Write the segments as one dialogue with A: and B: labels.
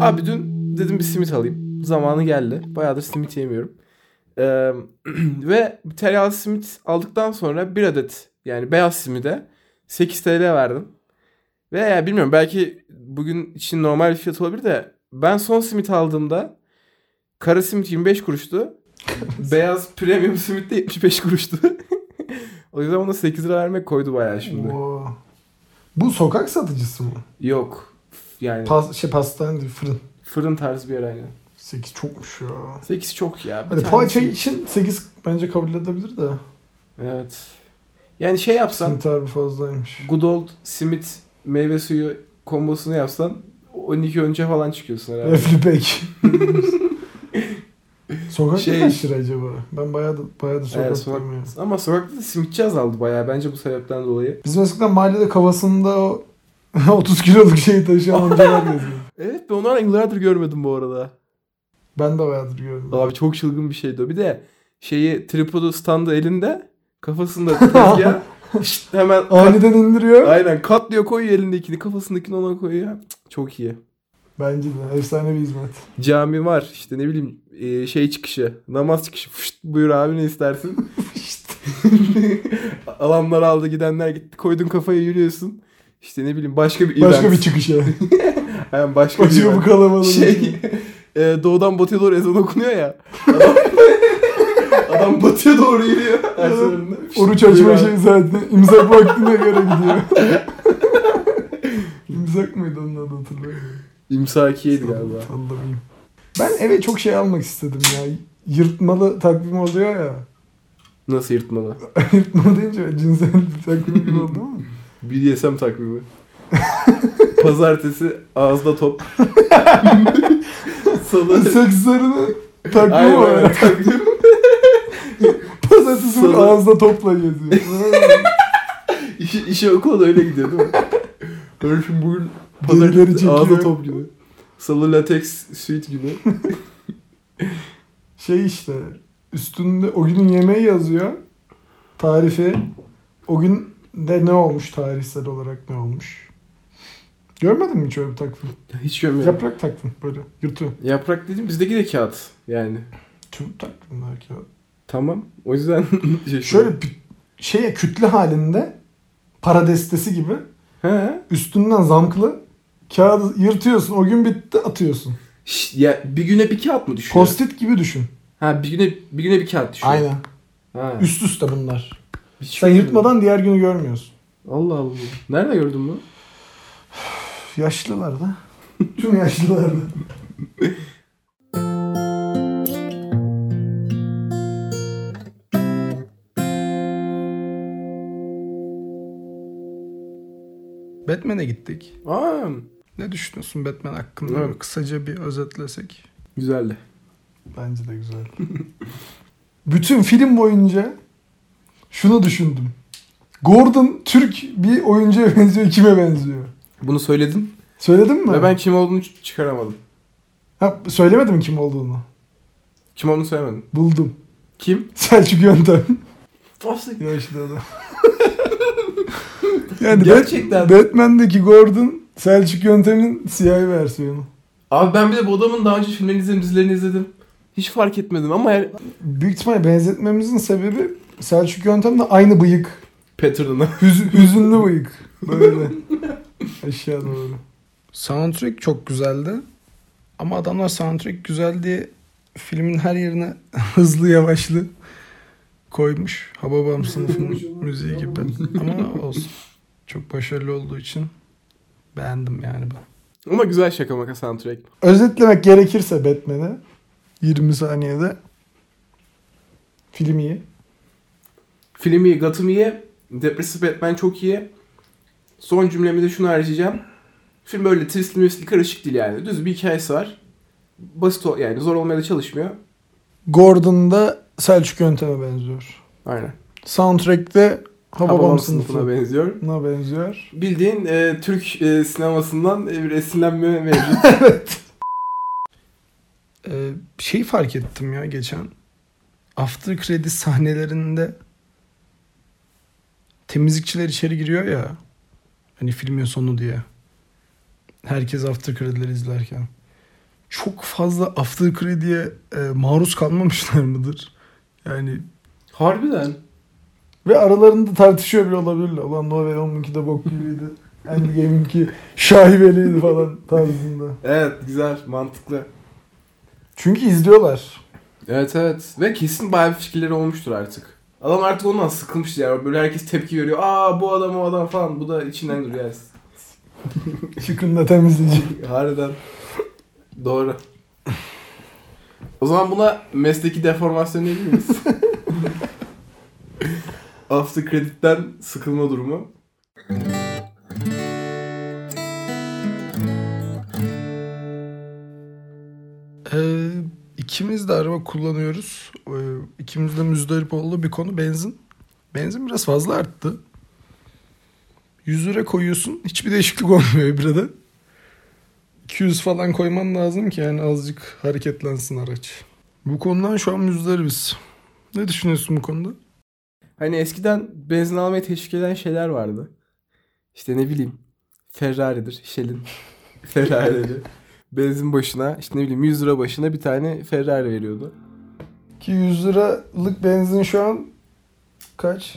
A: Abi dün dedim bir simit alayım. Zamanı geldi. Bayağıdır simit yemiyorum. Ee, ve tereyağlı simit aldıktan sonra bir adet yani beyaz simide 8 TL verdim. Ve ya bilmiyorum belki bugün için normal bir fiyat olabilir de ben son simit aldığımda kara simit 25 kuruştu. beyaz premium simit de 75 kuruştu. o yüzden ona 8 lira vermek koydu bayağı şimdi.
B: Oo. Bu sokak satıcısı mı?
A: Yok. Yani
B: Pas, şey pastane değil, fırın.
A: fırın tarzı bir yer aynen.
B: 8 çokmuş ya.
A: 8 çok ya. Bir
B: Hadi
A: tanesi-
B: poğaça için 8 bence kabul edilebilir de.
A: Evet. Yani şey yapsan
B: Simit harbi fazlaymış.
A: good old simit meyve suyu kombosunu yapsan 12 önce falan çıkıyorsun herhalde.
B: Refli pek. Sokakta
A: Şey-
B: kaç lira acaba? Ben bayağı da, bayağı da
A: Evet,
B: sokaktayım ya.
A: sokak- Ama sokakta da simitçi azaldı bayağı bence bu sebepten dolayı.
B: Bizim eskiden mahallede kafasında o 30 kiloluk şeyi taşıyan amcalar geziyor.
A: Evet ben onları yıllardır görmedim bu arada.
B: Ben de bayağıdır gördüm.
A: Abi çok çılgın bir şeydi o. Bir de şeyi tripodu standı elinde kafasında tezgah şşt, hemen
B: Aniden indiriyor.
A: aynen katlıyor koyuyor elindekini kafasındakini ona koyuyor. Cık, Çok iyi.
B: Bence de efsane bir hizmet.
A: Cami var işte ne bileyim e, şey çıkışı namaz çıkışı Fışt, buyur abi ne istersin alanlar aldı gidenler gitti koydun kafaya yürüyorsun işte ne bileyim başka bir
B: Başka
A: event.
B: bir çıkış ya.
A: Aynen, başka bir
B: Başka
A: event.
B: bu kalabalığın.
A: şey
B: içinde.
A: e, doğudan batıya doğru ezan okunuyor ya adam, adam batıya doğru yürüyor her seferinde. Fışt,
B: Oruç
A: buyur
B: açma şey-
A: abi.
B: şeyi zaten imzak vaktine göre gidiyor. imzak mıydı onun adı hatırlamıyorum.
A: İmsakiyeydi galiba
B: Sallamayayım. Ben eve çok şey almak istedim ya. Yırtmalı takvim oluyor ya.
A: nasıl yırtmalı
B: Yırtmalı deyince cinsel bir takvim gibi oldu ama.
A: BDSM takvimi pazartesi ağızda top salı
B: Sekslerini takvim
A: Aynen
B: var.
A: öyle takvim.
B: Pazartesi
A: Salı.
B: bunu ağızda topla geziyor.
A: İşi, işe okula da öyle gidiyor değil mi? Böyle şimdi bugün
B: Delileri
A: pazartesi
B: çekiyor.
A: ağza top gibi. Salı latex suit gibi.
B: şey işte üstünde o günün yemeği yazıyor. Tarifi. O gün de ne olmuş tarihsel olarak ne olmuş. Görmedin mi hiç öyle bir takvim?
A: Hiç görmüyorum.
B: Yaprak takvim böyle yırtıyor.
A: Yaprak dedim bizdeki de kağıt yani.
B: Tüm takvimler ki.
A: Tamam. O yüzden şey
B: Şöyle bir şeye kütle halinde para destesi gibi
A: He.
B: üstünden zamklı kağıdı yırtıyorsun. O gün bitti atıyorsun.
A: Şş, ya bir güne bir kağıt mı düşüyor?
B: Postit gibi düşün.
A: Ha bir güne bir güne bir kağıt düşüyor.
B: Aynen.
A: Ha.
B: Üst üste bunlar.
A: Hiç
B: Sen
A: bilmiyorum.
B: yırtmadan diğer günü görmüyorsun.
A: Allah Allah. Nerede gördün bunu?
B: Yaşlılarda. Tüm yaşlılarda. Batman'e gittik.
A: Aa.
B: Ne düşünüyorsun Batman hakkında?
A: Evet.
B: Böyle Kısaca bir özetlesek.
A: Güzeldi.
B: Bence de güzel. Bütün film boyunca şunu düşündüm. Gordon Türk bir oyuncuya benziyor, kime benziyor?
A: Bunu söyledin
B: Söyledim mi?
A: ve ben kim olduğunu ç- çıkaramadım.
B: Ha, söylemedim kim olduğunu.
A: Kim olduğunu söylemedim.
B: Buldum.
A: Kim?
B: Selçuk Yöntem.
A: Nasıl?
B: Yaşlı adam.
A: Gerçekten.
B: yani Gerçekten. Batman'deki Gordon Selçuk Yöntem'in siyahi versiyonu.
A: Abi ben bir de bu adamın daha önce filmlerini izledim, dizilerini izledim. Hiç fark etmedim ama yani...
B: Büyük ihtimalle benzetmemizin sebebi Selçuk Yöntem'le aynı bıyık.
A: Pattern'ını.
B: Hüz- hüzünlü bıyık. Böyle. Aşağı doğru. Soundtrack çok güzeldi. Ama adamlar soundtrack güzel diye filmin her yerine hızlı yavaşlı koymuş. Hababam sınıfının müziği gibi. Ama olsun. Çok başarılı olduğu için beğendim yani ben.
A: Ama güzel şaka maka soundtrack.
B: Özetlemek gerekirse Batman'i 20 saniyede film iyi.
A: Film iyi, Gotham iyi. Depresif Batman çok iyi. Son cümlemi de şunu harcayacağım. Film böyle twistli müstli karışık değil yani. Düz bir hikayesi var. Basit ol yani zor olmaya da çalışmıyor.
B: Gordon da Selçuk Yöntem'e benziyor.
A: Aynen.
B: Soundtrack'te Hababam,
A: Hababam
B: sınıfına
A: sınıfına benziyor.
B: Ne benziyor?
A: Bildiğin e, Türk e, sinemasından e, bir esinlenme mevcut.
C: Ee, şey fark ettim ya geçen. After kredi sahnelerinde temizlikçiler içeri giriyor ya. Hani filmin sonu diye. Herkes after kredileri izlerken.
D: çok fazla after credit'e
B: e,
D: maruz kalmamışlar mıdır? Yani
A: Harbiden.
B: Ve aralarında tartışıyor bile olabilirler. Ulan Novel onunki de bok gibiydi. Endgame'inki şaibeliydi falan tarzında.
A: Evet güzel mantıklı.
B: Çünkü izliyorlar.
A: Evet evet. Ve kesin bayağı bir fikirleri olmuştur artık. Adam artık ondan sıkılmış ya. Böyle herkes tepki veriyor. Aa bu adam o adam falan. Bu da içinden duruyor. yani.
B: Çıkın da temizleyici.
A: Harbiden. Doğru. O zaman buna mesleki deformasyon diyebilir miyiz? After credit'ten sıkılma durumu.
D: e, ikimiz de araba kullanıyoruz. E, ikimiz de müzdarip olduğu bir konu benzin. Benzin biraz fazla arttı. 100 lira koyuyorsun. Hiçbir değişiklik olmuyor ibrede. 200 falan koyman lazım ki yani azıcık hareketlensin araç. Bu konudan şu an müzdaribiz. Ne düşünüyorsun bu konuda?
A: Hani eskiden benzin almaya teşvik eden şeyler vardı. İşte ne bileyim. Ferrari'dir. Shell'in Ferrari'leri. Benzin başına işte ne bileyim 100 lira başına bir tane Ferrari veriyordu.
B: Ki 100 liralık benzin şu an kaç?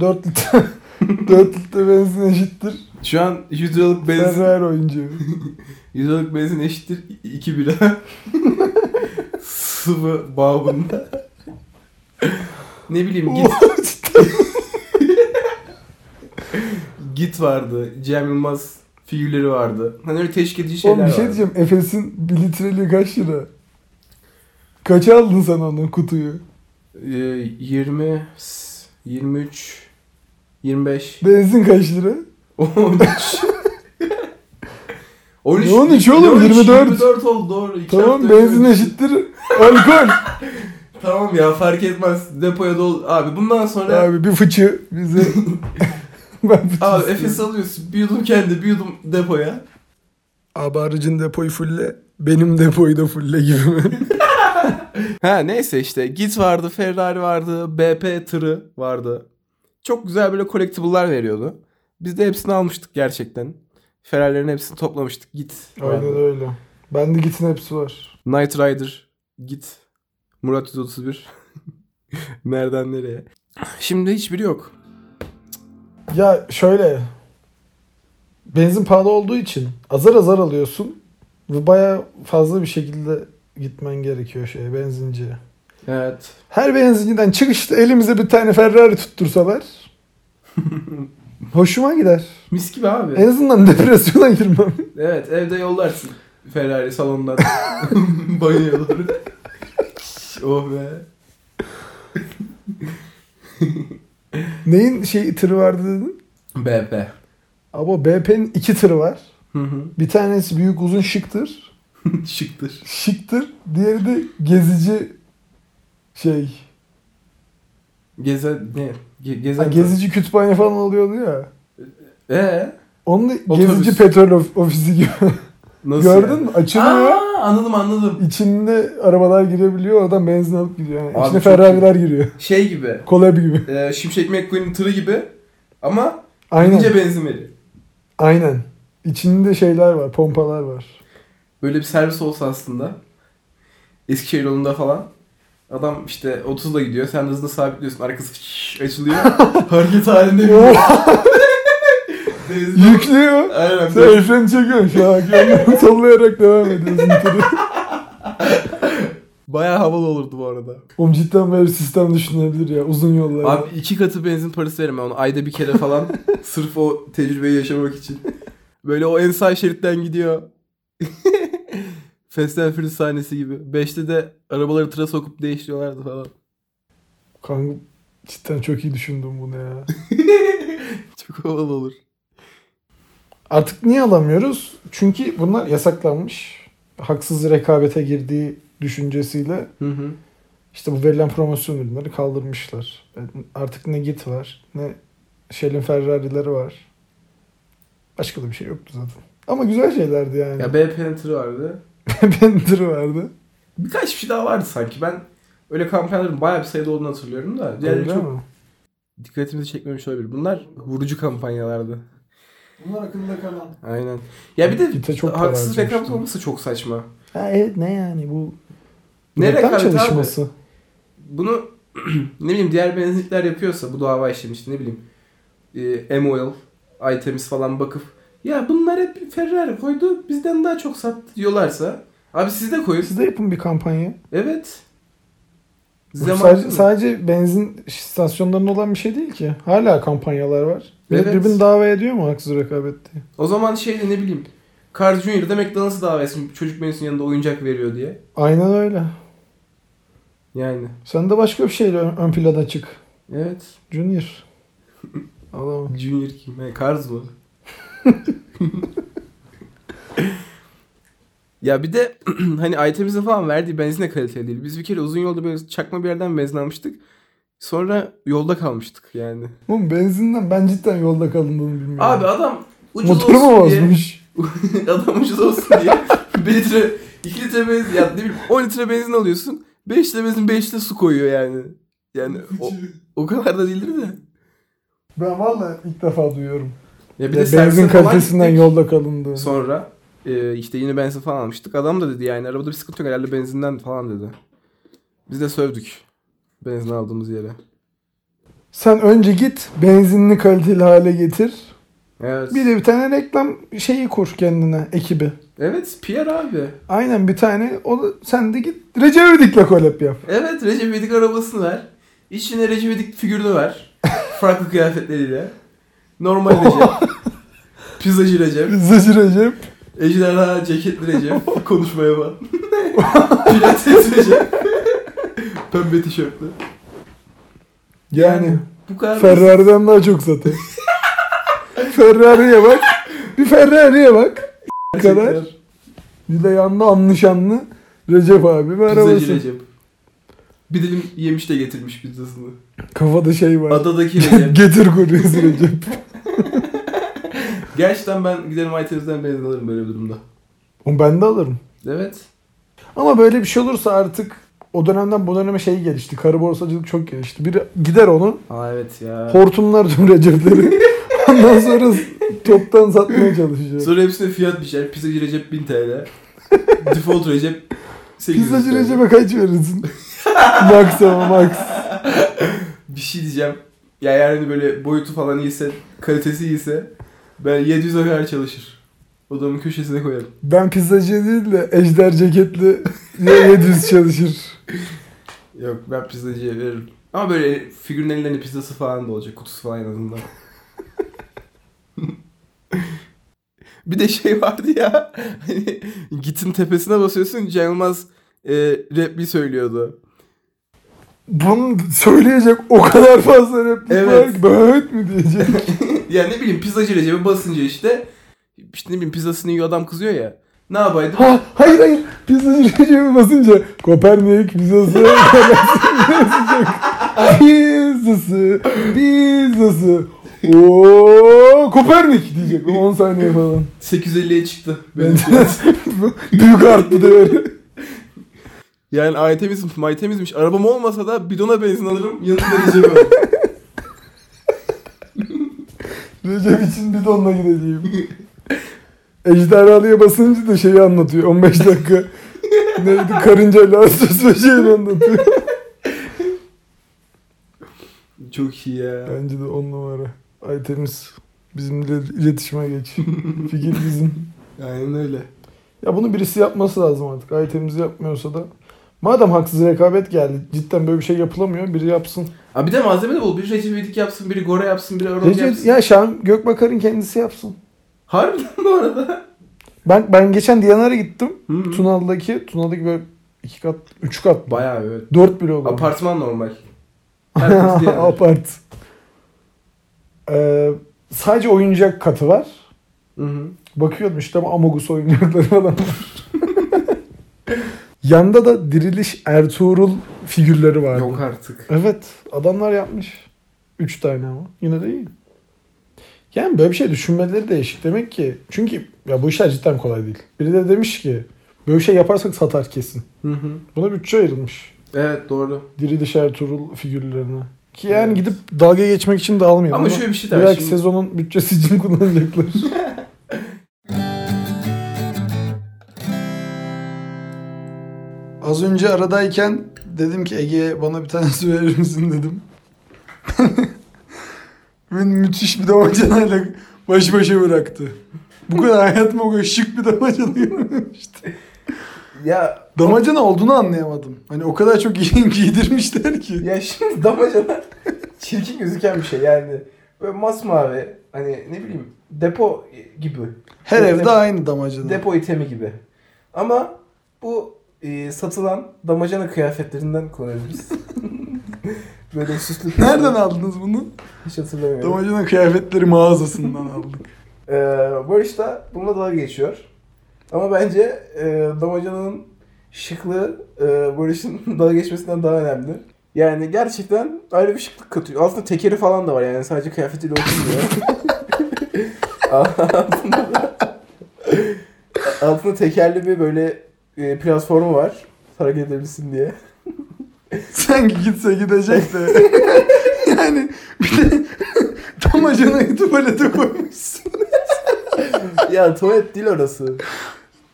B: 4 litre. 4 litre benzin eşittir.
A: Şu an 100 liralık benzin
B: Ferrari oyuncağı.
A: 100 liralık benzin eşittir 2 bira. Sıvı babında. ne bileyim git. git vardı. Cem Yılmaz figürleri vardı. Hani öyle teşvik edici şeyler
B: Oğlum bir şey
A: vardı.
B: diyeceğim. Efes'in 1 litreliği kaç lira? Kaça aldın sen onun kutuyu?
A: Ee, 20, 23, 25,
B: Benzin kaç lira?
A: 13. 13,
B: Ne 13 oğlum? 24.
A: 24 oldu doğru. İki
B: Tamam
A: hafta önce-
B: benzin eşittir alkol.
A: Tamam ya fark etmez. Depoya dol. Abi bundan sonra
B: Abi bir fıçı bize. ben fıçı
A: Abi
B: istiyorum.
A: Efes alıyorsun. Bir yudum kendi, bir yudum depoya.
D: Abi aracın depoyu fulle, benim depoyu da fulle gibi mi?
A: Ha neyse işte Git vardı, Ferrari vardı, BP tırı vardı. Çok güzel böyle collectible'lar veriyordu. Biz de hepsini almıştık gerçekten. Ferrari'lerin hepsini toplamıştık. Git.
B: Aynen
A: vardı.
B: öyle. Bende gitin hepsi var.
A: Knight Rider, Git, Murat 131. Nereden nereye? Şimdi hiçbiri yok.
B: Ya şöyle. Benzin pahalı olduğu için azar azar alıyorsun. Ve baya fazla bir şekilde gitmen gerekiyor şeye benzinciye.
A: Evet.
B: Her benzinciden çıkışta elimize bir tane Ferrari tuttursalar. hoşuma gider.
A: Mis gibi abi.
B: En azından depresyona girmem.
A: Evet evde yollarsın Ferrari salondan banyoya doğru. oh be.
B: Neyin şey tırı vardı dedin?
A: BP.
B: Ama BP'nin iki tırı var.
A: Hı hı.
B: Bir tanesi büyük uzun şıktır.
A: Şıktır.
B: Şıktır. Diğeri de gezici şey.
A: Geze ne? Ge,
B: Ha,
A: gezen.
B: gezici kütüphane falan oluyordu ya.
A: Ee,
B: Onun da
A: Otobüs.
B: gezici petrol of- ofisi gibi.
A: nasıl?
B: Gördün
A: yani?
B: mü? Açılıyor.
A: Aa, anladım anladım.
B: İçinde arabalar girebiliyor. Oradan benzin alıp gidiyor. Yani
A: Abi
B: içine
A: çok
B: Ferrari'ler giriyor.
A: Şey gibi.
B: Kolab gibi.
A: E, Şimşek McQueen'in tırı gibi. Ama
B: Aynen.
A: ince benzemeli.
B: Aynen. İçinde şeyler var. Pompalar var.
A: Böyle bir servis olsa aslında. Eskişehir yolunda falan. Adam işte 30'la gidiyor. Sen hızını sabitliyorsun. Arkası şşş açılıyor. Hareket halinde. gidiyor. Benzin-
B: Yüklüyor.
A: Aynen.
B: Sen el freni çekiyorsun şu an. Kendini sallayarak devam ediyorsun. tırı.
A: Bayağı havalı olurdu bu arada.
B: Oğlum cidden böyle bir sistem düşünebilir ya. Uzun yollarda.
A: Abi iki katı benzin parası verme onu ayda bir kere falan. sırf o tecrübeyi yaşamak için. Böyle o en sağ şeritten gidiyor. Fast and Furious sahnesi gibi. Beşte de arabaları tıra sokup değiştiriyorlardı falan.
B: Kanka cidden çok iyi düşündüm bunu ya.
A: Çok havalı olur.
B: Artık niye alamıyoruz? Çünkü bunlar yasaklanmış. Haksız rekabete girdiği düşüncesiyle
A: Hı hı.
B: işte bu verilen promosyon ürünleri kaldırmışlar. Yani Artık ne git var ne Shell'in Ferrari'leri var. Başka da bir şey yoktu zaten. Ama güzel şeylerdi yani.
A: Ya BP'nin tırı vardı.
B: Bender vardı.
A: Birkaç bir şey daha vardı sanki. Ben öyle kampanyaların bayağı bir sayıda olduğunu hatırlıyorum da. Diğerleri
B: Öyle
A: çok
B: mi?
A: dikkatimizi çekmemiş olabilir. Bunlar vurucu kampanyalardı.
E: Bunlar akılda kalan.
A: Aynen. Ya bir de
B: Gite çok para
A: haksız
B: harcamışlar.
A: rekabet olması çok saçma.
B: Ha evet ne yani bu
A: Ne
B: reklam
A: rekabet abi?
B: çalışması.
A: Bunu ne bileyim diğer benzinlikler yapıyorsa bu dava işlemişti ne bileyim. E, M-Oil, iTemiz falan bakıp ya bunlar hep Ferrari koydu bizden daha çok sattı diyorlarsa abi siz de koyun.
B: Siz de yapın bir kampanya.
A: Evet.
B: Bu
A: Zaman-
B: sadece, sadece benzin istasyonlarında olan bir şey değil ki. Hala kampanyalar var. Millet
A: Evet.
B: birbirini dava ediyor mu haksız rekabet diye.
A: O zaman şeyde ne bileyim. Carl Junior'da McDonald's davası çocuk menüsünün yanında oyuncak veriyor diye.
B: Aynen öyle.
A: Yani
B: Sen de başka bir şeyle ön, ön plana çık.
A: evet.
B: Junior. Adam.
A: Junior kim? He, Cars mı? ya bir de hani itemimizde falan verdiği benzin de kaliteli değil. Biz bir kere uzun yolda böyle çakma bir yerden benzin almıştık. Sonra yolda kalmıştık yani.
B: Oğlum benzinden ben cidden yolda kalındığını bilmiyorum.
A: Abi adam ucuz
B: Motoru mu
A: olsun diye,
B: bozmuş?
A: adam ucuz olsun diye 1 litre 2 litre benzin ya ne bileyim 10 litre benzin alıyorsun. 5 litre benzin 5 litre su koyuyor yani. Yani o, o kadar da değildir de.
B: Ben valla ilk defa duyuyorum.
A: Ya
B: Ya
A: servise
B: benzin
A: falan
B: kalitesinden
A: gittik.
B: yolda kalındı.
A: Sonra e, işte yine benzin falan almıştık. Adam da dedi yani arabada bir sıkıntı yok herhalde benzinden falan dedi. Biz de sövdük. Benzin aldığımız yere.
B: Sen önce git benzinini kaliteli hale getir.
A: Evet.
B: Bir de bir tane reklam şeyi kur kendine ekibi.
A: Evet Pierre abi.
B: Aynen bir tane. O da, sen de git Recep İvedik'le kolep yap.
A: Evet Recep İvedik arabasını ver. İçine Recep İvedik figürünü ver. Farklı kıyafetleriyle. Normal Recep. Pizzacı Recep.
B: Zacı Recep.
A: Ejderha ceketli Recep. Konuşmaya bak. Pilates Recep. Pembe tişörtlü.
B: Yani
A: Bu kadar.
B: Ferrari'den daha çok zaten. Ferrari'ye bak. Bir Ferrari'ye bak.
A: Gerçekten.
B: kadar. Bir de yanında anlışanlı Recep abi ve
A: Pizzacı
B: arabası.
A: Recep. Bir dilim yemiş de getirmiş pizzasını.
B: Kafada şey var.
A: Adadaki Recep.
B: Getir kuruyoruz Recep.
A: Gerçekten ben giderim iTunes'den benzin alırım böyle bir durumda.
B: Onu ben de alırım.
A: Evet.
B: Ama böyle bir şey olursa artık o dönemden bu döneme şey gelişti. Karı borsacılık çok gelişti. Biri gider onu
A: Aa evet ya.
B: hortumlar tüm Recep'leri. Ondan sonra toptan satmaya çalışacak.
A: Sonra hepsine fiyat biçer. Pizzacı Recep 1000 TL. Default Recep 800
B: Pizzacı
A: TL.
B: Recep'e kaç verirsin? max ama max.
A: Bir şey diyeceğim. Ya yani böyle boyutu falan iyiyse, kalitesi iyiyse ben 700'e kadar çalışır. Odamın köşesine koyarım.
B: Ben pizzacı değil de ejder ceketli ya 700 çalışır.
A: Yok ben pizzacıya veririm. Ama böyle figürün ellerinde pizzası falan da olacak. Kutusu falan en azından. bir de şey vardı ya. Hani gitin tepesine basıyorsun. Can Yılmaz e, repli söylüyordu.
B: Bunun söyleyecek o kadar fazla replik var
A: Evet.
B: ki böyle mi diyecek?
A: yani ne bileyim pizzacı Recep'e basınca işte. işte ne bileyim pizzasını yiyor adam kızıyor ya. Ne yapaydım?
B: Ha, hayır hayır pizzacı Recep'e basınca Kopernik pizzası basacak. Pizzası, pizzası. Oo, Kopernik diyecek 10 saniye falan.
A: 850'ye çıktı. Benim
B: Bence
A: fiyatım.
B: büyük arttı değeri.
A: Yani aytemiz, maytemizmiş. Arabam olmasa da bidona benzin alırım. Yanında Recep'e alırım.
B: Recep için bidonla gideceğim. Ejderhalıya basınca da şeyi anlatıyor. 15 dakika. Neydi? Karınca lansöz ve şeyini anlatıyor.
A: Çok iyi ya.
B: Bence de on numara. Ay temiz. Bizimle iletişime geç. Fikir bizim.
A: Aynen öyle.
B: Ya bunu birisi yapması lazım artık. Ay temiz yapmıyorsa da. Madem haksız rekabet geldi. Cidden böyle bir şey yapılamıyor. Biri yapsın.
A: Abi bir de malzeme de bul. Biri Recep İvedik yapsın, biri Gora yapsın, biri Erol
B: Recep,
A: yapsın.
B: ya Şam Gökbakar'ın kendisi yapsın.
A: Harbiden bu arada.
B: Ben ben geçen Diyanar'a gittim.
A: Hı hı.
B: Tunal'daki. Tunal'daki böyle iki kat, üç kat.
A: Bayağı evet.
B: Dört bile olur.
A: Apartman normal. Herkes diğer.
B: Apart. Ee, sadece oyuncak katı var.
A: Hı hı.
B: Bakıyordum işte ama Amogus oyuncakları falan var. Yanda da Diriliş Ertuğrul figürleri vardı.
A: Yok artık.
B: Evet adamlar yapmış. Üç tane ama yine de iyi. Yani böyle bir şey düşünmeleri değişik demek ki. Çünkü ya bu işler cidden kolay değil. Biri de demiş ki böyle bir şey yaparsak satar kesin.
A: Hı hı.
B: Buna bütçe ayrılmış.
A: Evet doğru.
B: Diriliş Ertuğrul figürlerine. Ki yani
A: Evet.
B: gidip dalga geçmek için de almayalım.
A: Ama şöyle bir şey de var.
B: Belki
A: Şimdi
B: sezonun bütçesi için kullanacaklar.
D: Az önce aradayken dedim ki Ege bana bir tane su verir misin dedim. Beni müthiş bir damacanayla baş başa bıraktı. Bu kadar hayatım o kadar şık bir damacana görmemiştim.
A: Ya
D: Damacana olduğunu anlayamadım. Hani o kadar çok iyi giydirmişler ki.
A: ya şimdi damacana çirkin gözüken bir şey yani. Böyle masmavi hani ne bileyim depo gibi.
D: Her
A: Depo-
D: evde aynı damacana.
A: Depo itemi gibi. Ama bu e, satılan damacana kıyafetlerinden kullanabiliriz. Böyle süslü. püslü.
D: Nereden aldınız bunu?
A: Hiç hatırlamıyorum.
D: Damacana kıyafetleri mağazasından aldık.
A: Ee, Barış da bununla dalga geçiyor. Ama bence e, damacananın şıklığı e, Barış'ın dalga geçmesinden daha önemli. Yani gerçekten ayrı bir şıklık katıyor. Aslında tekeri falan da var yani sadece kıyafetiyle oturmuyor. altında, da- altında tekerli bir böyle e, platformu var. Hareket edebilsin diye.
D: Sanki gitse gidecek de. yani bir de damacanayı tuvalete koymuşsun.
A: ya tuvalet değil orası.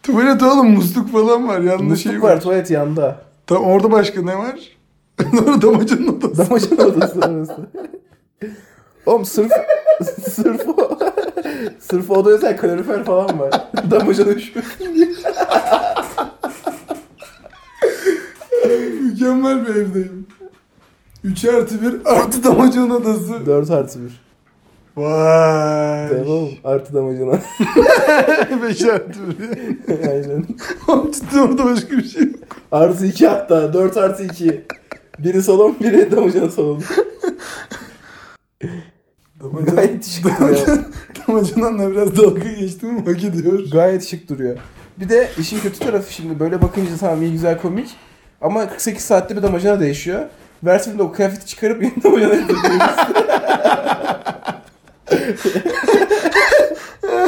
D: Tuvalet oğlum musluk falan var yanlış şey
A: Musluk var tuvalet yanda.
D: Tam orada başka ne var? Sonra damacanın odası.
A: Damacana odası orası. Oğlum sırf sırf o sırf oda özel kalorifer falan var. Damacana üşüyor.
D: Mükemmel bir evdeyim. 3 artı 1 artı damacanın odası.
A: 4 artı 1.
D: Vay.
A: Tamam artı damacana.
D: 5 artı 1.
A: Aynen.
D: Oğlum cidden orada başka bir şey yok.
A: Artı 2 hatta 4 artı 2. Biri salon biri damacana salonu.
D: Damacan,
A: Gayet şık duruyor.
D: damacananla biraz dalga geçtim ama hak ediyor.
A: Gayet şık duruyor. Bir de işin kötü tarafı şimdi böyle bakınca tamam iyi güzel komik. Ama 48 saatte bir damacana değişiyor. Versiyonda o kıyafeti çıkarıp yeni damacana yapıyoruz.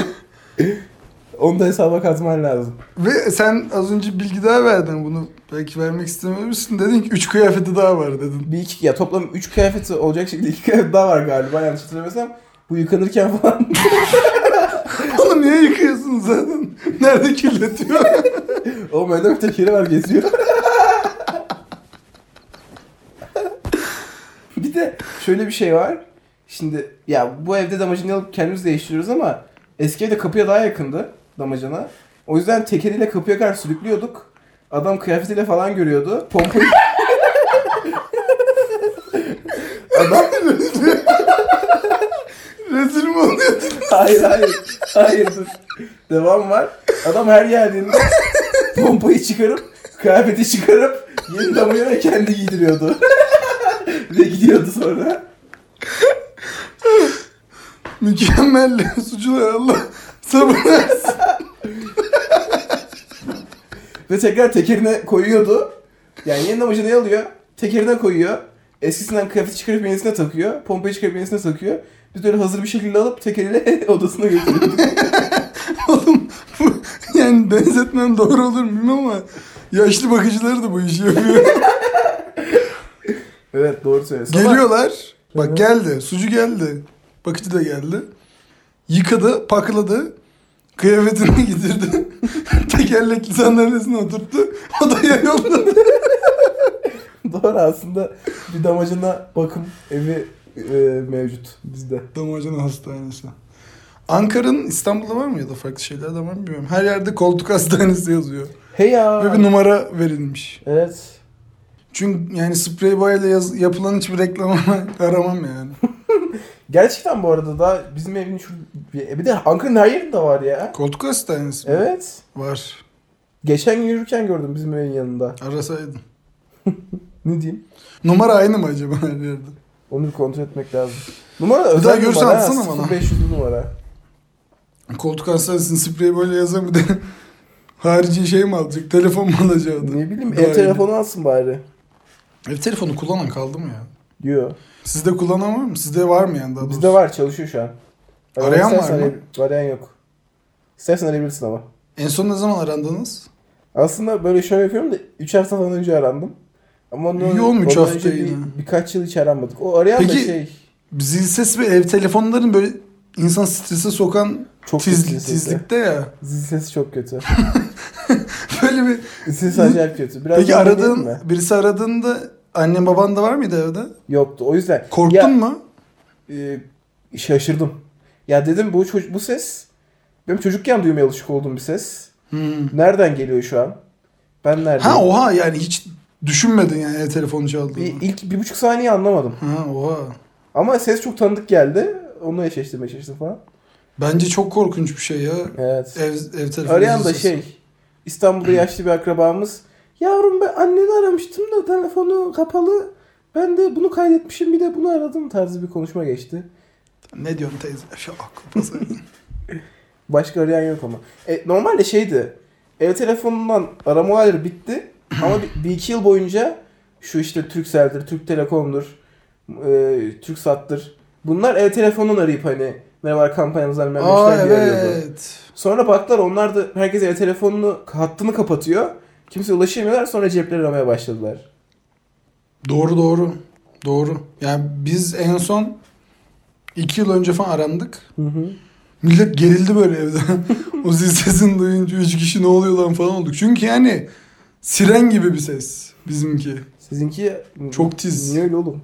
A: Onu da hesaba katman lazım.
D: Ve sen az önce bilgi daha verdin bunu belki vermek istememişsin dedin ki 3 kıyafeti daha var dedin.
A: Bir iki ya toplam 3 kıyafeti olacak şekilde 2 kıyafet daha var galiba yanlış hatırlamıyorsam. Bu yıkanırken falan
D: Oğlum niye yıkıyorsun zaten? Nerede kirletiyor?
A: o bir tekeri var geziyor. bir de şöyle bir şey var. Şimdi ya bu evde damacana alıp kendimiz değiştiriyoruz ama eski evde kapıya daha yakındı damacana. O yüzden tekeriyle kapıya kadar sürüklüyorduk. Adam kıyafetiyle falan görüyordu. Pompayı... Adam
D: Rezil mi oluyor?
A: Hayır hayır. Hayır dur. Devam var. Adam her geldiğinde pompayı çıkarıp kıyafeti çıkarıp yeni damaya ve kendi giydiriyordu. ve gidiyordu sonra.
D: Mükemmel suçlar Allah sabır versin.
A: Ve tekrar tekerine koyuyordu. Yani yeni damacı ne alıyor? Tekerine koyuyor. Eskisinden kıyafeti çıkarıp yenisine takıyor. Pompayı çıkarıp yenisine takıyor. Biz de öyle hazır bir şekilde alıp tekeriyle odasına götürüyorduk.
D: Oğlum bu, yani benzetmem doğru olur mu bilmem ama yaşlı bakıcılar da bu işi yapıyor.
A: evet doğru söylüyorsun. Ama
D: Geliyorlar. Bak geldi. Sucu geldi. Bakıcı da geldi. Yıkadı, pakladı. Kıyafetini giydirdi. Tekerlekli sandalyesine oturttu. Odaya yolladı.
A: Doğru aslında bir damacana bakım evi e, mevcut bizde.
D: Damacana hastanesi. Ankara'nın İstanbul'da var mı ya da farklı şeyler de var mı bilmiyorum. Her yerde koltuk hastanesi yazıyor.
A: Hey ya.
D: Ve bir numara verilmiş.
A: Evet.
D: Çünkü yani sprey boyayla yaz- yapılan hiçbir reklamı aramam yani.
A: Gerçekten bu arada da bizim evin şu bir de Ankara'nın her yerinde var ya.
D: Koltuk hastanesi mi?
A: Evet.
D: Var.
A: Geçen gün yürürken gördüm bizim evin yanında.
D: Arasaydın.
A: Ne diyeyim?
D: Numara aynı mı acaba her yerde?
A: Onu bir kontrol etmek lazım. Numara özel
D: daha görürsen
A: numara.
D: atsana bana.
A: 500 numara.
D: Koltuk hastanesinin spreyi böyle yazan bir de harici şey mi alacak? Telefon mu alacak adam?
A: Ne bileyim
D: Daha
A: ev telefonu alsın bari.
D: iyi. Ev E, telefonu kullanan kaldı mı ya?
A: Diyor.
D: Sizde kullanan var mı? Sizde var mı yani daha doğrusu?
A: Bizde var çalışıyor şu an. Ama
D: Arayan var
A: istersen
D: mı?
A: arayabil- Arayan yok. İstersen arayabilirsin ama.
D: En son ne zaman arandınız?
A: Aslında böyle şöyle yapıyorum da 3 hafta falan önce arandım. Ama ondan,
D: İyi olmuş
A: ondan
D: hafta
A: önce bir-
D: yine.
A: birkaç yıl hiç aranmadık. O arayan da
D: Peki-
A: şey
D: Zil ses ve ev telefonların böyle insan strese sokan
A: Çok
D: Tiz,
A: kötü zil sesi.
D: tizlikte ya.
A: Zil sesi çok kötü.
D: Böyle bir...
A: Zil sesi acayip kötü. Biraz
D: Peki
A: daha
D: aradığın,
A: dinleyelim mi?
D: birisi aradığında annen baban da var mıydı evde?
A: Yoktu. O yüzden.
D: Korktun
A: Ya-
D: mu?
A: e, şaşırdım. Ya dedim bu çocuk bu ses benim çocukken duymaya alışık olduğum bir ses.
D: Hmm.
A: Nereden geliyor şu an? Ben neredeyim?
D: Ha oha yani hiç düşünmedin yani ev telefonu çaldığını.
A: bir, ilk bir buçuk saniye anlamadım.
D: Ha oha.
A: Ama ses çok tanıdık geldi. Onunla eşleştim eşleştim falan.
D: Bence çok korkunç bir şey ya.
A: Evet.
D: Ev, ev telefonu.
A: Arayan da
D: sesi.
A: şey İstanbul'da yaşlı bir akrabamız yavrum ben anneni aramıştım da telefonu kapalı. Ben de bunu kaydetmişim bir de bunu aradım tarzı bir konuşma geçti.
D: Ne diyorsun teyze? Şu aklı pasayın.
A: Başka arayan yok ama. E, normalde şeydi. Ev telefonundan aramalar bitti. Ama bir, bir iki yıl boyunca şu işte Turkcell'dir, Türk Telekom'dur, e, Türksat'tır. Bunlar ev telefonundan arayıp hani merhaba kampanyamızdan merhaba
D: Aa
A: işler diye arıyordu.
D: evet.
A: Sonra baktılar onlar da herkes ev telefonunu hattını kapatıyor. Kimse ulaşamıyorlar sonra cepleri aramaya başladılar.
D: Doğru doğru. Doğru. Yani biz en son iki yıl önce falan arandık.
A: Hı hı.
D: Millet gerildi böyle evde. o zil sesini duyunca üç kişi ne oluyor lan falan olduk. Çünkü yani siren gibi bir ses bizimki.
A: Sizinki
D: Çok tiz.
A: Niye öyle oğlum?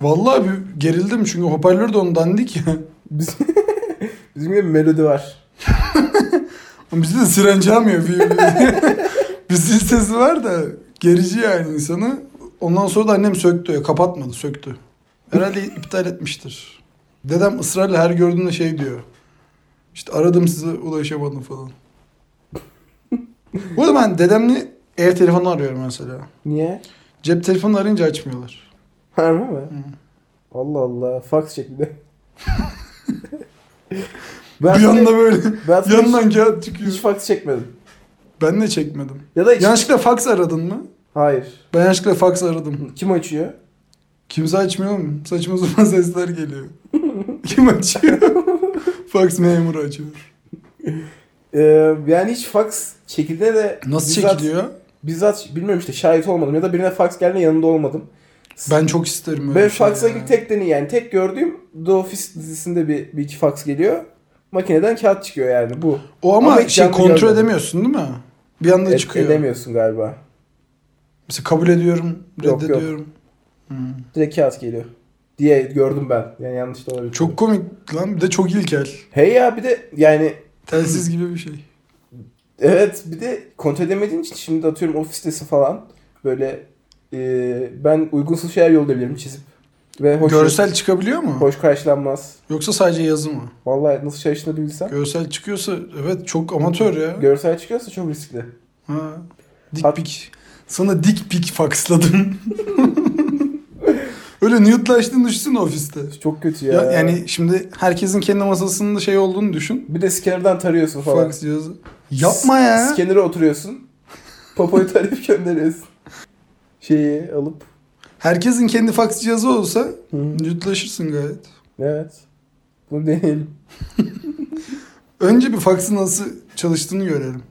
D: Vallahi bir gerildim çünkü hoparlör de onu dandik ya.
A: Biz, bizim gibi bir melodi var.
D: Ama Bizde de siren çalmıyor. Bir- bir- bir zil sesi var da gerici yani insanı. Ondan sonra da annem söktü. Kapatmadı söktü. Herhalde iptal etmiştir. Dedem ısrarla her gördüğünde şey diyor. İşte aradım size ulaşamadım falan. Bu arada ben dedemle ev telefonu arıyorum mesela.
A: Niye?
D: Cep telefonu arayınca açmıyorlar.
A: Harbi mi?
D: Hı.
A: Allah Allah. Fax şeklinde.
D: Bir
A: ben
D: yanda böyle
A: ben hiç-
D: yandan kağıt
A: hiç,
D: çıkıyor.
A: fax çekmedim.
D: Ben de çekmedim.
A: Ya da hiç...
D: Yanlışlıkla fax aradın mı?
A: Hayır.
D: Ben yanlışlıkla fax aradım.
A: Kim açıyor?
D: Kimse açmıyor mu? Saçma sapan sesler geliyor. Kim açıyor? fax memuru açıyor.
A: Ee, yani hiç fax çekildi de...
D: Nasıl
A: bizzat-
D: çekiliyor?
A: Bizzat bilmiyorum işte şahit olmadım ya da birine fax geldiğinde yanında olmadım.
D: Ben çok isterim öyle
A: Ben
D: bir şey
A: faxla
D: ya.
A: ilgili tek deney yani tek gördüğüm The Office dizisinde bir, bir iki fax geliyor. Makineden kağıt çıkıyor yani bu.
D: O ama,
A: Ama hiç
D: şey
A: canlı
D: kontrol
A: görmedim.
D: edemiyorsun değil mi? Bir anda
A: Et-
D: çıkıyor.
A: edemiyorsun galiba.
D: Mesela kabul ediyorum,
A: Yok, yok.
D: reddediyorum. Hmm.
A: Direkt kağıt geliyor diye gördüm ben. Yani yanlış da olabilir.
D: Çok komik lan. Bir de çok ilkel.
A: Hey ya bir de yani
D: Telsiz gibi bir şey.
A: Evet bir de kontrol edemediğin için şimdi atıyorum ofistesin falan böyle e, ben uygunsuz şeyler yollayabilirim çizip ve hoş,
D: Görsel çıkabiliyor mu?
A: hoş karşılanmaz.
D: Yoksa sadece yazı mı?
A: Vallahi nasıl çalıştığını bilsem.
D: Görsel çıkıyorsa evet çok amatör ya.
A: Görsel çıkıyorsa çok riskli.
D: Ha. Dik
A: Hat-
D: pik. Sana dik pik faksladım. Öyle nude'laştığını düşünsene ofiste.
A: Çok kötü ya.
D: Ya, yani şimdi herkesin kendi masasında şey olduğunu düşün.
A: Bir de scanner'dan tarıyorsun falan.
D: Fax cihazı. Yapma ya.
A: Scanner'a oturuyorsun. Popoyu tarayıp gönderiyorsun. Şeyi alıp.
D: Herkesin kendi fax cihazı olsa
A: Hı.
D: nude'laşırsın gayet.
A: Evet. Bunu deneyelim.
D: Önce bir faxın nasıl çalıştığını görelim.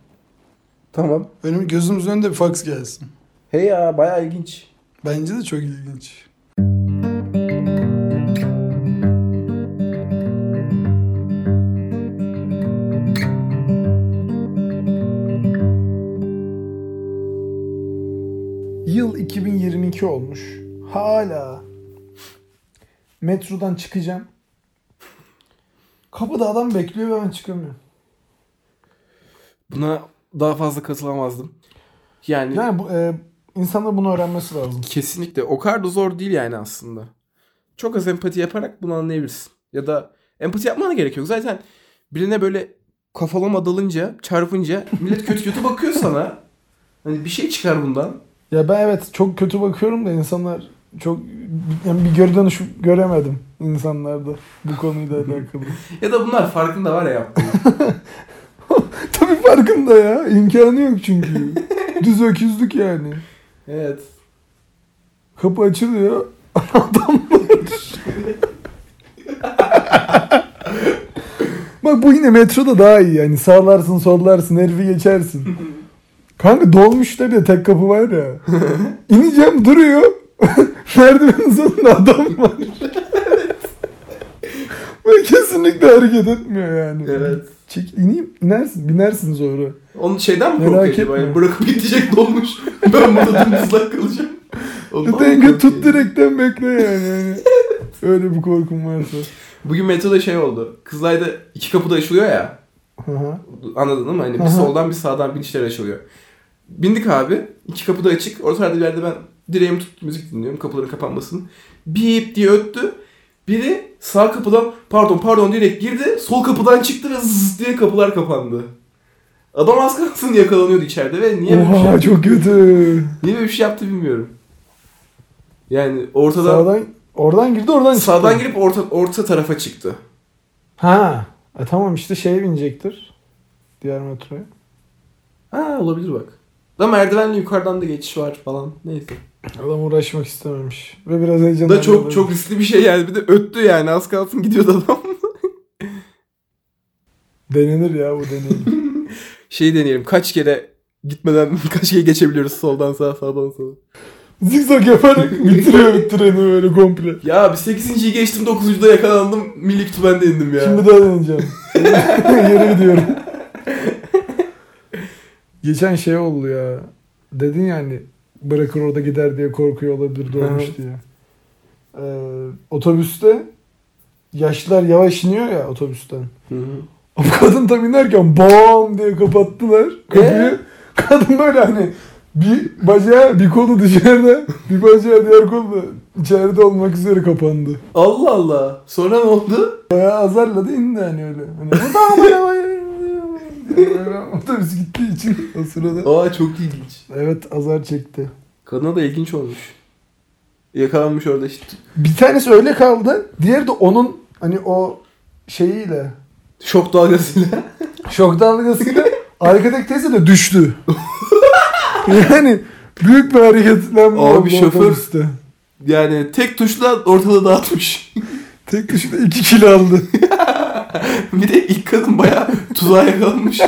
A: Tamam.
D: Önüm gözümüzün önünde bir fax gelsin.
A: Hey ya bayağı ilginç.
D: Bence de çok ilginç.
B: Yıl 2022 olmuş. Hala. Metrodan çıkacağım. Kapıda adam bekliyor ve ben çıkamıyorum.
A: Buna daha fazla katılamazdım. Yani
B: Yani bu, e, insanlar bunu öğrenmesi lazım.
A: Kesinlikle. O kadar da zor değil yani aslında. Çok az empati yaparak bunu anlayabilirsin. Ya da empati yapmana gerek yok. Zaten birine böyle kafalama dalınca, çarpınca millet kötü kötü bakıyor sana. Hani bir şey çıkar bundan.
B: Ya ben evet çok kötü bakıyorum da insanlar çok yani bir geri dönüş göremedim insanlarda bu konuyla alakalı.
A: Ya da bunlar farkında var ya yaptığının.
B: Tabii farkında ya. imkanı yok çünkü. Düz öküzlük yani.
A: evet.
B: Kapı açılıyor. Adam var. Bak bu yine metroda daha iyi yani. Sağlarsın sollarsın herifi geçersin. Kanka dolmuşta bir de tek kapı var ya. İneceğim duruyor. Merdivenin sonunda adam var. Ve kesinlikle hareket etmiyor yani.
A: Evet.
B: Çek ineyim. İnersin. Binersin sonra.
A: Onun şeyden mi
B: Merak
A: korkuyor acaba?
B: etme.
A: Yani bırakıp gidecek dolmuş. ben burada dımdızlak kalacağım. Ondan mı
B: Denge tut
A: korkuyor?
B: direkten bekle yani. yani. Öyle bir korkum varsa.
A: Bugün metroda şey oldu. Kızılay'da iki kapı da açılıyor ya.
B: Hı hı.
A: Anladın değil mi? Hani bir
B: Aha.
A: soldan bir sağdan binişler açılıyor. Bindik abi. iki kapı da açık. Ortalarda bir yerde ben direğimi tuttum müzik dinliyorum. Kapıların kapanmasın. Bip diye öttü. Biri sağ kapıdan pardon pardon diyerek girdi. Sol kapıdan çıktı ve zzz diye kapılar kapandı. Adam az kalsın yakalanıyordu içeride ve niye böyle bir şey
B: Oha
A: yaptı,
B: çok kötü.
A: niye böyle bir şey yaptı bilmiyorum. Yani ortadan
B: Sağdan, oradan girdi oradan
A: sağdan,
B: çıktı.
A: girip orta orta tarafa çıktı.
B: Ha. E tamam işte şeye binecektir. Diğer metroya.
A: Ha olabilir bak. Da merdivenle yukarıdan da geçiş var falan. Neyse.
B: Adam uğraşmak istememiş. Ve biraz heyecan.
A: Da çok çok riskli bir şey yani. Bir de öttü yani. Az kalsın gidiyordu adam.
B: Denenir ya bu deneyim.
A: Şeyi deneyelim. Kaç kere gitmeden kaç kere geçebiliyoruz soldan sağa sağdan sola.
B: Zigzag yaparak bitiriyor treni böyle komple.
A: Ya bir 8.yi geçtim 9.da yakalandım. Milli kütüphanede indim ya.
B: Şimdi daha deneyeceğim. Yere gidiyorum. Geçen şey oldu ya. Dedin yani bırakır orada gider diye korkuyor olabilir dolmuş
A: Evet.
B: diye. Ee, otobüste yaşlılar yavaş iniyor ya otobüsten.
A: Hı hı.
B: Ama kadın tam inerken bam diye kapattılar
A: Ee?
B: kapıyı. Kadın böyle hani bir bacağı bir kolu dışarıda bir bacağı diğer kolu da içeride olmak üzere kapandı.
A: Allah Allah. Sonra ne oldu?
B: Bayağı azarladı indi hani öyle. Hani buradan amına koyayım." Böyle Otobüs gittiği için o sırada.
A: Aa çok ilginç.
B: Evet azar çekti.
A: Kadına da ilginç olmuş. Yakalanmış orada işte.
B: Bir tanesi öyle kaldı. Diğeri de onun hani o şeyiyle
A: Şok dalgasıyla.
B: şok dalgasıyla arkadaki teyze de düştü. yani büyük bir hareketlenme
A: Abi
B: oldu
A: şoför-
B: otobüste.
A: Yani tek tuşla ortada dağıtmış.
B: Tek düşüşte 2 kilo aldı.
A: bir de ilk kadın bayağı tuzağa yakalanmış.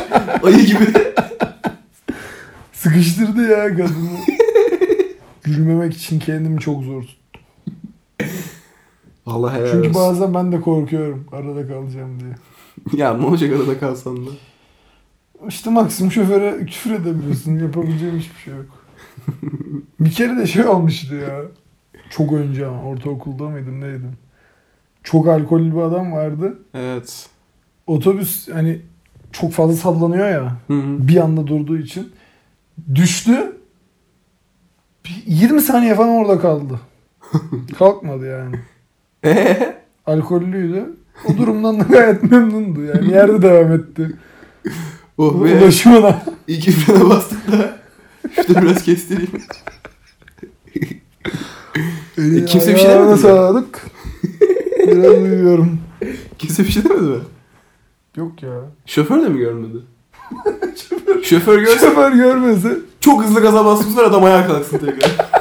A: Ayı gibi.
B: Sıkıştırdı ya kadını. Gülmemek için kendimi çok zor tuttum.
A: Allah helal
B: Çünkü
A: olsun.
B: bazen ben de korkuyorum arada kalacağım diye.
A: Ya ne olacak arada kalsan da.
B: İşte maksimum şoföre küfür edebiliyorsun. Yapabileceğim hiçbir şey yok. bir kere de şey olmuştu ya. Çok önce ama ortaokulda mıydım neydim. Çok alkollü bir adam vardı.
A: Evet.
B: Otobüs hani çok fazla sallanıyor ya. Bir anda durduğu için. Düştü. Bir 20 saniye falan orada kaldı. Kalkmadı yani.
A: Eee?
B: Alkollüydü. O durumdan da gayet memnundu yani. Yerde devam etti.
A: Oh be.
B: Ulaşımına.
A: İki frene bastık da. Şurada biraz kestireyim. E, kimse bir şey demedi
B: Ee, Ayağına
A: mi?
B: sağlık. Biraz uyuyorum.
A: Kimse bir şey demedi mi?
B: Yok ya.
A: Şoför de mi görmedi? Şoför görse
B: Şoför görmese.
A: çok hızlı gaza basmışlar adam ayağa kalksın tekrar.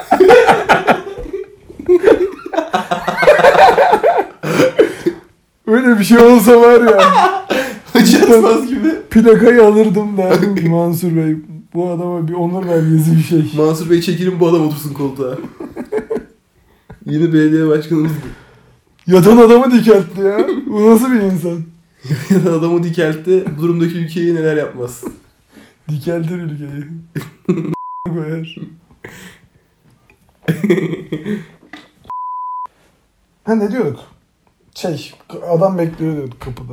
B: Öyle bir şey olsa var ya.
A: Hacı Yatmaz gibi.
B: plakayı alırdım derdim ki Mansur Bey. Bu adama bir onur vergisi bir şey.
A: Mansur Bey çekilin bu adam otursun koltuğa. Yeni belediye başkanımız
B: Yatan adamı dikeltti ya. Bu nasıl bir insan?
A: gibi. adamı dikeltti. Bu durumdaki ülkeyi neler yapmaz.
B: Dikeltir ülkeyi. Koyar. ha ne diyorduk? Şey, adam bekliyor diyorduk kapıda.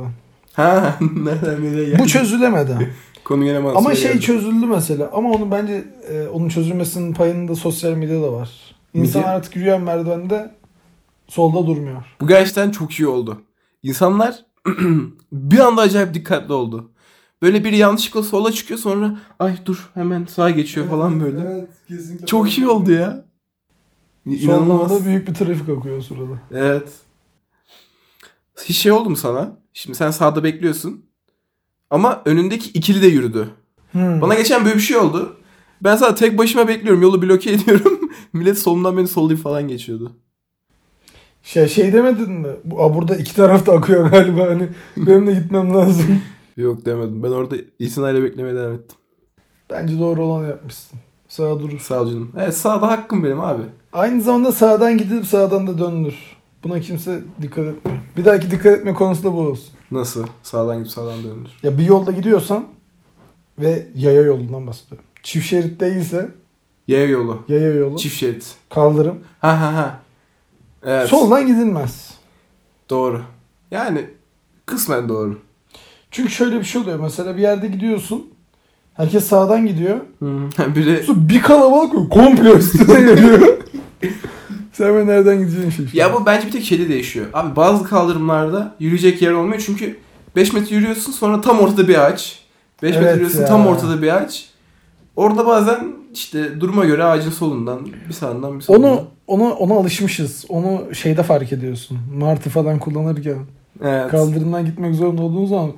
A: Ha nereden nereye geldi?
B: Bu çözülemedi.
A: Konu gene Mansur'a
B: Ama şey
A: geldi.
B: çözüldü mesela. Ama onu bence e, onun çözülmesinin payını da sosyal medyada var. İnsan
A: Medya?
B: artık yürüyen merdivende solda durmuyor.
A: Bu gerçekten çok iyi oldu. İnsanlar bir anda acayip dikkatli oldu. Böyle biri yanlışlıkla sola çıkıyor sonra ay dur hemen sağa geçiyor Şey falan böyle.
B: Evet, kesinlikle.
A: Çok iyi oldu ya. İnanılmaz.
B: Solda büyük bir trafik akıyor o sırada.
A: Evet. Hiç şey oldu mu sana? Şimdi sen sağda bekliyorsun. Ama önündeki ikili de yürüdü. Bana geçen böyle bir şey oldu. Ben sana tek başıma bekliyorum. Yolu bloke ediyorum. Millet solumdan beni sollayıp falan geçiyordu.
B: Şey, şey demedin mi? Bu, aa, burada iki taraf da akıyor galiba hani. Benim de gitmem lazım.
A: Yok demedim. Ben orada itinayla beklemeye devam ettim.
B: Bence doğru olanı yapmışsın. Sağa durur.
A: Sağ ol canım. Evet sağda hakkım benim abi.
B: Aynı zamanda sağdan gidilip sağdan da dönülür. Buna kimse dikkat etmiyor. Bir dahaki dikkat etme konusu da bu olsun.
A: Nasıl? Sağdan gidip sağdan dönülür.
B: Ya bir yolda gidiyorsan ve yaya yolundan bahsediyorum. Çift şerit değilse
A: Yaya yolu.
B: yaya yolu
A: Çift şerit.
B: kaldırım.
A: Ha ha ha. Evet.
B: Soldan gidilmez.
A: Doğru. Yani kısmen doğru.
B: Çünkü şöyle bir şey oluyor. Mesela bir yerde gidiyorsun. Herkes sağdan gidiyor.
A: Biri
B: Su bir kalabalık yok. Komplo üstüne geliyor. Sen ben nereden gideceğin şey. işte.
A: Ya bu bence bir tek şeyde değişiyor. Abi bazı kaldırımlarda yürüyecek yer olmuyor çünkü 5 metre yürüyorsun sonra tam ortada bir ağaç. 5 metre
B: Evet
A: yürüyorsun
B: ya.
A: tam ortada bir ağaç. Orada bazen işte duruma göre ağacın solundan bir sağından bir solundan.
B: onu ona ona alışmışız. Onu şeyde fark ediyorsun. Martı falan kullanırken
A: evet.
B: kaldırımdan gitmek zorunda olduğun zaman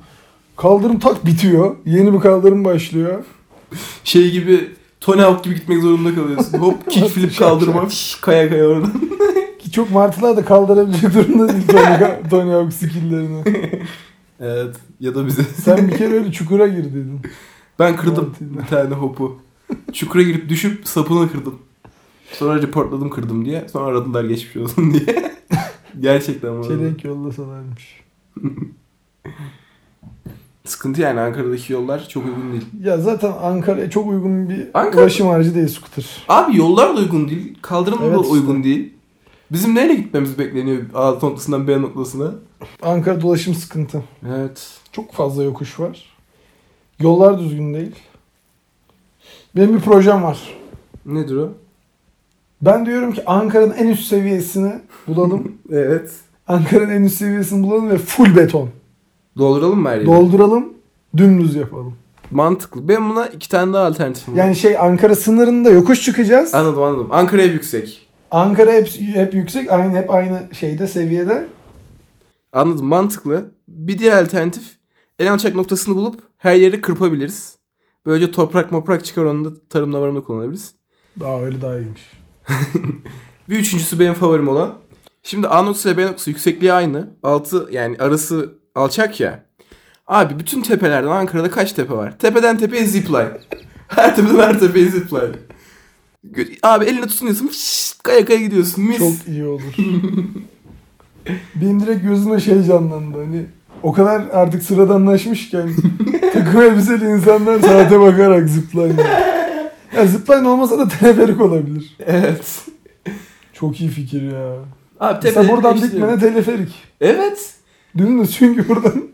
B: kaldırım tak bitiyor. Yeni bir kaldırım başlıyor.
A: şey gibi Tony Hawk gibi gitmek zorunda kalıyorsun. Hop kick flip kaldırma şş, kaya kaya oradan.
B: Ki çok martılar da kaldırabilecek durumda değil Tony, Tony Hawk skill'lerini.
A: Evet ya da bize.
B: Sen bir kere öyle çukura girdiydin.
A: Ben kırdım bir tane hopu. Çukura girip düşüp sapını kırdım. Sonra reportladım kırdım diye. Sonra aradılar geçmiş olsun diye. Gerçekten bu arada.
B: Çelenk yollasalarmış.
A: Sıkıntı yani Ankara'daki yollar çok uygun değil.
B: Ya zaten Ankara'ya çok uygun bir
A: Ankara-
B: ulaşım aracı değil scooter.
A: Abi yollar da uygun değil. Kaldırım da
B: Evet işte.
A: uygun değil. Bizim neyle gitmemiz bekleniyor A noktasından B noktasına?
B: Ankara dolaşım sıkıntı.
A: Evet.
B: Çok fazla yokuş var. Yollar düzgün değil. Benim bir projem var.
A: Nedir o?
B: Ben diyorum ki Ankara'nın en üst seviyesini bulalım.
A: Evet.
B: Ankara'nın en üst seviyesini bulalım ve full beton.
A: Dolduralım mı her yeri?
B: Dolduralım, dümdüz yapalım.
A: Mantıklı. Ben buna iki tane daha alternatifim var.
B: Yani şey Ankara sınırında yokuş çıkacağız.
A: Anladım anladım. Ankara'ya yüksek.
B: Ankara hep, hep yüksek, aynı hep aynı şeyde seviyede.
A: Anladım mantıklı. Bir diğer alternatif en alçak noktasını bulup her yeri kırpabiliriz. Böylece toprak moprak çıkar onu da tarımda varımda kullanabiliriz.
B: Daha öyle daha iyiymiş.
A: Bir üçüncüsü benim favorim olan. Şimdi A noktası ile B noktası yüksekliği aynı. Altı yani arası alçak ya. Abi bütün tepelerden Ankara'da kaç tepe var? Tepeden tepeye zipline. Her tepeden her tepeye zipline. Gö- Abi eline tutunuyorsun. Şşş, kaya kaya gidiyorsun. Mis.
B: Çok iyi olur. Benim direkt gözüme şey canlandı hani o kadar artık sıradanlaşmışken takım elbiseli insanlar saate bakarak zıplayın. Ya zıplayın olmasa da teleferik olabilir.
A: Evet.
B: Çok iyi fikir ya.
A: Abi
B: Mesela
A: tepeleri
B: buradan
A: değiştiriyorum.
B: dikmene teleferik.
A: Evet.
B: Dümdüz çünkü buradan.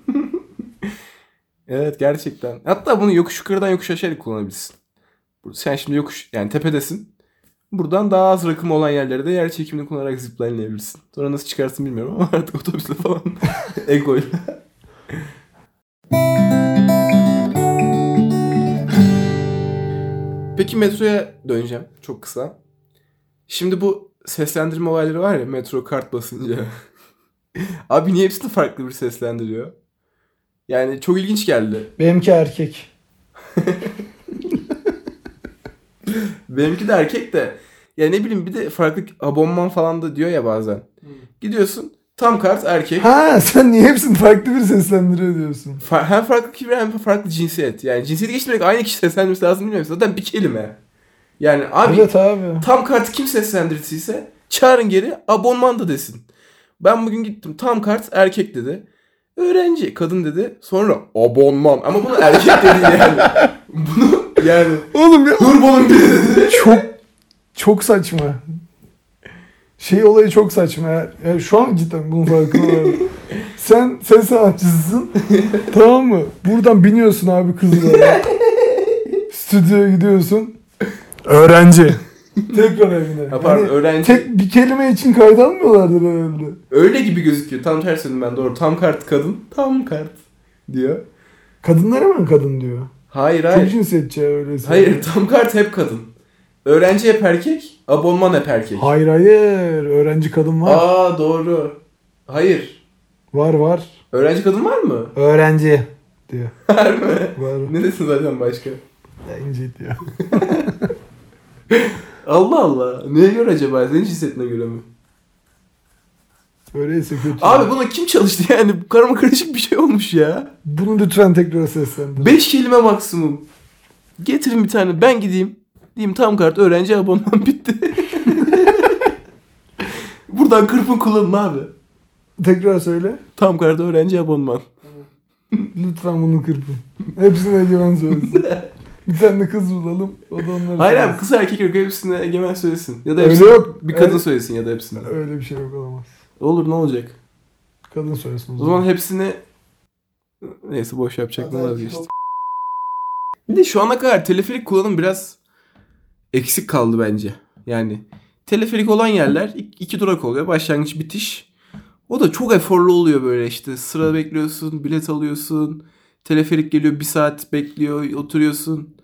A: Evet gerçekten. Hatta bunu yokuş yukarıdan yokuş aşağıya kullanabilirsin. Bu- Sen şimdi yokuş yani tepedesin. Buradan daha az rakım olan yerlere de yer çekimini kullanarak zipline'layabilirsin. Sonra nasıl çıkarsın bilmiyorum ama artık otobüsle falan egoyla. Peki metroya döneceğim çok kısa. Şimdi bu seslendirme olayları var ya metro kart basınca. Abi niye hepsini farklı bir seslendiriyor? Yani çok ilginç geldi.
B: Benimki erkek.
A: Benimki de erkek de. Ya ne bileyim bir de farklı abonman falan da diyor ya bazen. Gidiyorsun tam kart erkek.
B: Ha sen niye hepsini farklı bir seslendiriyor diyorsun.
A: Fa- hem farklı kibir hem farklı cinsiyet. Yani cinsiyeti geçtirerek aynı kişi seslendirmesi lazım bilmiyorum. Zaten bir kelime. Yani abi
B: Evet abi.
A: tam kart kim seslendirdiyse çağırın geri abonman da desin. Ben bugün gittim tam kart erkek dedi. Öğrenci kadın dedi. Sonra abonman ama bunu erkek dedi yani. Bunu yani
B: Oğlum ya
A: turbonun biri dedi.
B: çok çok saçma. Şey olayı çok saçma ya. Ya şu an cidden bunun farkına vardım. Sen sen sanatçısısın. tamam mı? Buradan biniyorsun abi kızlara. Stüdyoya gidiyorsun. Öğrenci. Tekrar evine.
A: Ha, pardon,
B: Hani
A: öğrenci.
B: Tek bir kelime için kaydalmıyorlardır herhalde.
A: Öyle gibi gözüküyor. Tam ters dedim ben doğru. Tam kart kadın. Tam kart diyor.
B: Kadınlara mı kadın diyor?
A: Hayır
B: Çok
A: hayır.
B: cinsiyetçi ya öyle.
A: Hayır tam kart hep kadın. Öğrenci hep erkek. Abonman hep erkek.
B: Hayır hayır. Öğrenci kadın var.
A: Aa doğru. Hayır.
B: Var var.
A: Öğrenci kadın var mı?
B: Öğrenci diyor.
A: Var mı?
B: Var.
A: ne desin zaten başka?
B: Ya ince diyor.
A: Allah Allah. Neye göre acaba? Senin cinsiyetine göre mi?
B: Öyleyse kötü.
A: Abi buna kim çalıştı yani? Bu Karma karışık bir şey olmuş ya.
B: Bunu lütfen tekrar seslendir.
A: Beş kelime maksimum. Getirin bir tane. Ben gideyim. Diyeyim tam kart öğrenci abonman bitti. Buradan kırpın kullanın abi.
B: tekrar söyle.
A: Tam kart öğrenci abonman.
B: Lütfen bunu kırpın. Hepsine egemen söylesin. Bir tane kız bulalım. O da onları
A: Hayır abi
B: söylesin.
A: kız erkek yok hepsine egemen söylesin. Ya da
B: Öyle
A: hepsine
B: yok.
A: bir kadın
B: Öyle-
A: söylesin ya da hepsine.
B: Öyle bir şey yok olamaz.
A: Olur ne olacak?
B: Kadın söylesin o
A: O
B: zaman.
A: zaman hepsini neyse boş yapacaklar
B: Adam-
A: vazgeçtim. Bir de şu ana kadar teleferik kullanım biraz eksik kaldı bence. Yani teleferik olan yerler ik- iki durak oluyor. Başlangıç bitiş. O da çok eforlu oluyor böyle işte. Sıra bekliyorsun, bilet alıyorsun. Teleferik geliyor bir saat bekliyor, oturuyorsun.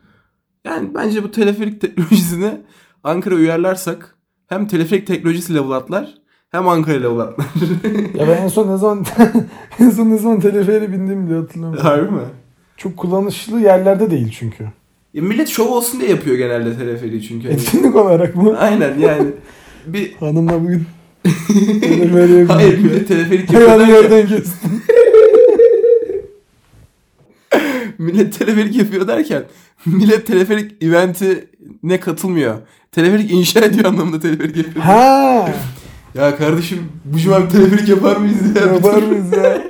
A: Yani bence bu teleferik teknolojisini Ankara uyarlarsak hem teleferik teknolojisi level atlar hem Ankara level atlar.
B: Ya ben en son ne zaman en son ne zaman teleferiğe bindiğimi bile hatırlamıyorum.
A: Harbi mi?
B: Çok kullanışlı yerlerde değil çünkü.
A: Ya E, millet şov olsun diye yapıyor genelde teleferiği çünkü. Hani-
B: Etkinlik olarak mı?
A: Aynen yani. Bir
B: Hanımla bugün teleferiğe
A: hayır
B: bindik.
A: millet teleferik
B: Hayvanı
A: yapıyor. derken-
B: yerden kestim.
A: millet teleferik yapıyor derken millet teleferik eventi ne katılmıyor. Teleferik inşa ediyor anlamında teleferik yapıyor.
B: Ha.
A: Ya kardeşim bu cuma bir teleferik yapar mıyız ya?
B: Yapar mıyız ya?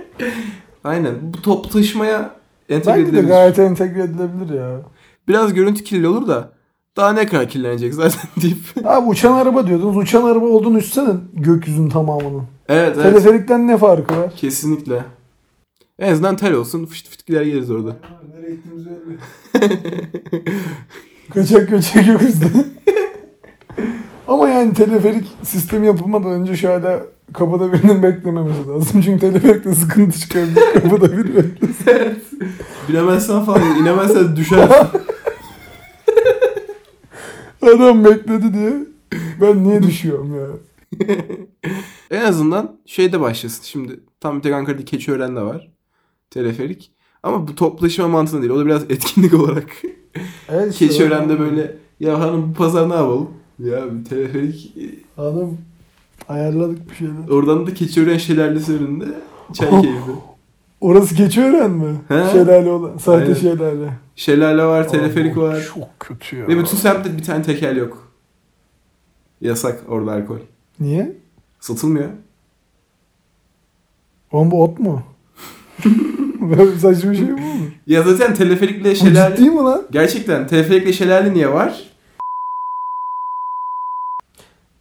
A: Aynen. Bu toplu taşımaya entegre
B: Bence de
A: edilebilir.
B: gayet entegre edilebilir ya.
A: Biraz görüntü kirli olur da daha ne kadar kirlenecek zaten deyip.
B: Abi uçan araba diyordunuz. Uçan araba olduğunu üstsene gökyüzünün tamamını.
A: evet evet.
B: Teleferikten ne farkı var?
A: Kesinlikle. En azından tel olsun. Fışt fışt gider geliriz orada.
B: Nereye gittiğimiz belli. Kaçak göçek yok bizde. Ama yani teleferik sistemi yapılmadan önce şu hala kapıda birinin beklememesi lazım. Çünkü teleferikte sıkıntı çıkabilir. kapıda biri bekliyor.
A: Bilemezsen falan inemezsen düşersin.
B: Adam bekledi diye. Ben niye düşüyorum ya?
A: en azından şeyde başlasın. Şimdi tam bir tek Ankara'da Keçiören'de var. Teleferik. Ama bu toplaşma mantığında değil. O da biraz etkinlik olarak.
B: Evet işte
A: Keçiören'de
B: adam-
A: böyle ya hanım bu pazar ne yapalım? Ya bir teleferik. e,
B: Adam ayarladık bir şeyler.
A: Oradan da Keçiören şelalesi önünde çay keyfi.
B: Orası Keçiören mi?
A: He.
B: Şelale olan. Sahte
A: Aynen.
B: şelale.
A: Şelale var, teleferik
B: Abi,
A: var.
B: Çok kötü ya.
A: Ve bütün semtte bir tane tekel yok. Yasak orada alkol.
B: Niye?
A: Satılmıyor.
B: Oğlum bu ot mu? Böyle saçma şey mi olur?
A: Ya zaten teleferikle
B: Bu
A: şelale...
B: Ciddi mi lan?
A: Gerçekten teleferikle şelale niye var?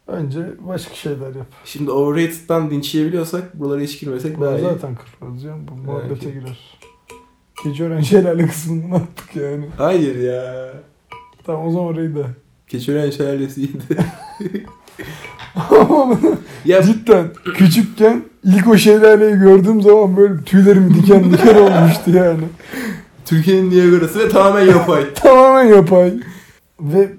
B: Önce başka şeyler yap.
A: Şimdi overrated'dan dinçleyebiliyorsak buralara hiç girmesek daha
B: Ben
A: iyi.
B: zaten kırparız canım. Bu muhabbete
A: okey.
B: girer. Keçiören şelale kısmını attık yani.
A: Hayır ya.
B: Tamam o zaman orayı da.
A: Keçören şelalesiydi.
B: Ama
A: ya
B: Cidden küçükken ilk o şelaleyi gördüğüm zaman böyle tüylerim diken diken olmuştu yani.
A: Türkiye'nin Niagara'sı ve tamamen yapay.
B: Tamamen yapay. Ve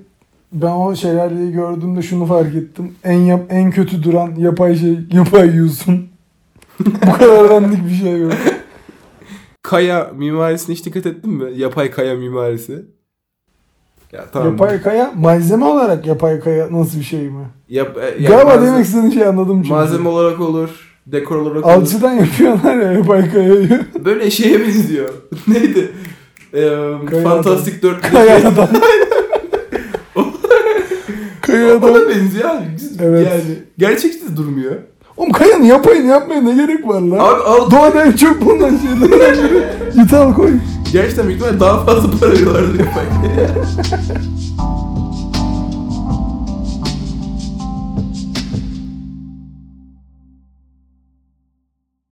B: ben o şelaleyi gördüğümde şunu fark ettim. En yap, en kötü duran yapay şey yapay yiyorsun. Bu kadar benlik bir şey yok.
A: Kaya mimarisine hiç dikkat ettin mi? Yapay kaya mimarisi. Ya tamam.
B: Yapay kaya malzeme olarak yapay kaya nasıl bir şey mi?
A: Yap, e, yani
B: Galiba
A: malzeme,
B: demek istediğin şeyi anladım çünkü.
A: malzeme olarak olur. Dekor olarak olur.
B: Alçıdan yapıyorlar ya yapay kayayı.
A: Böyle şeye benziyor. Neydi? Ee,
B: Kaya
A: fantastik
B: Kaya
A: dörtlü. şey.
B: adam. kaya adam.
A: Ona benziyor abi.
B: Evet.
A: Yani gerçekçi durmuyor.
B: Oğlum kayanın yapayını yapmaya ne gerek var lan?
A: Abi al
B: Doğada en çok bulunan şeylerden biri. Git al koy.
A: Gerçekten büyük ihtimalle daha fazla para veriyorlardı yapay.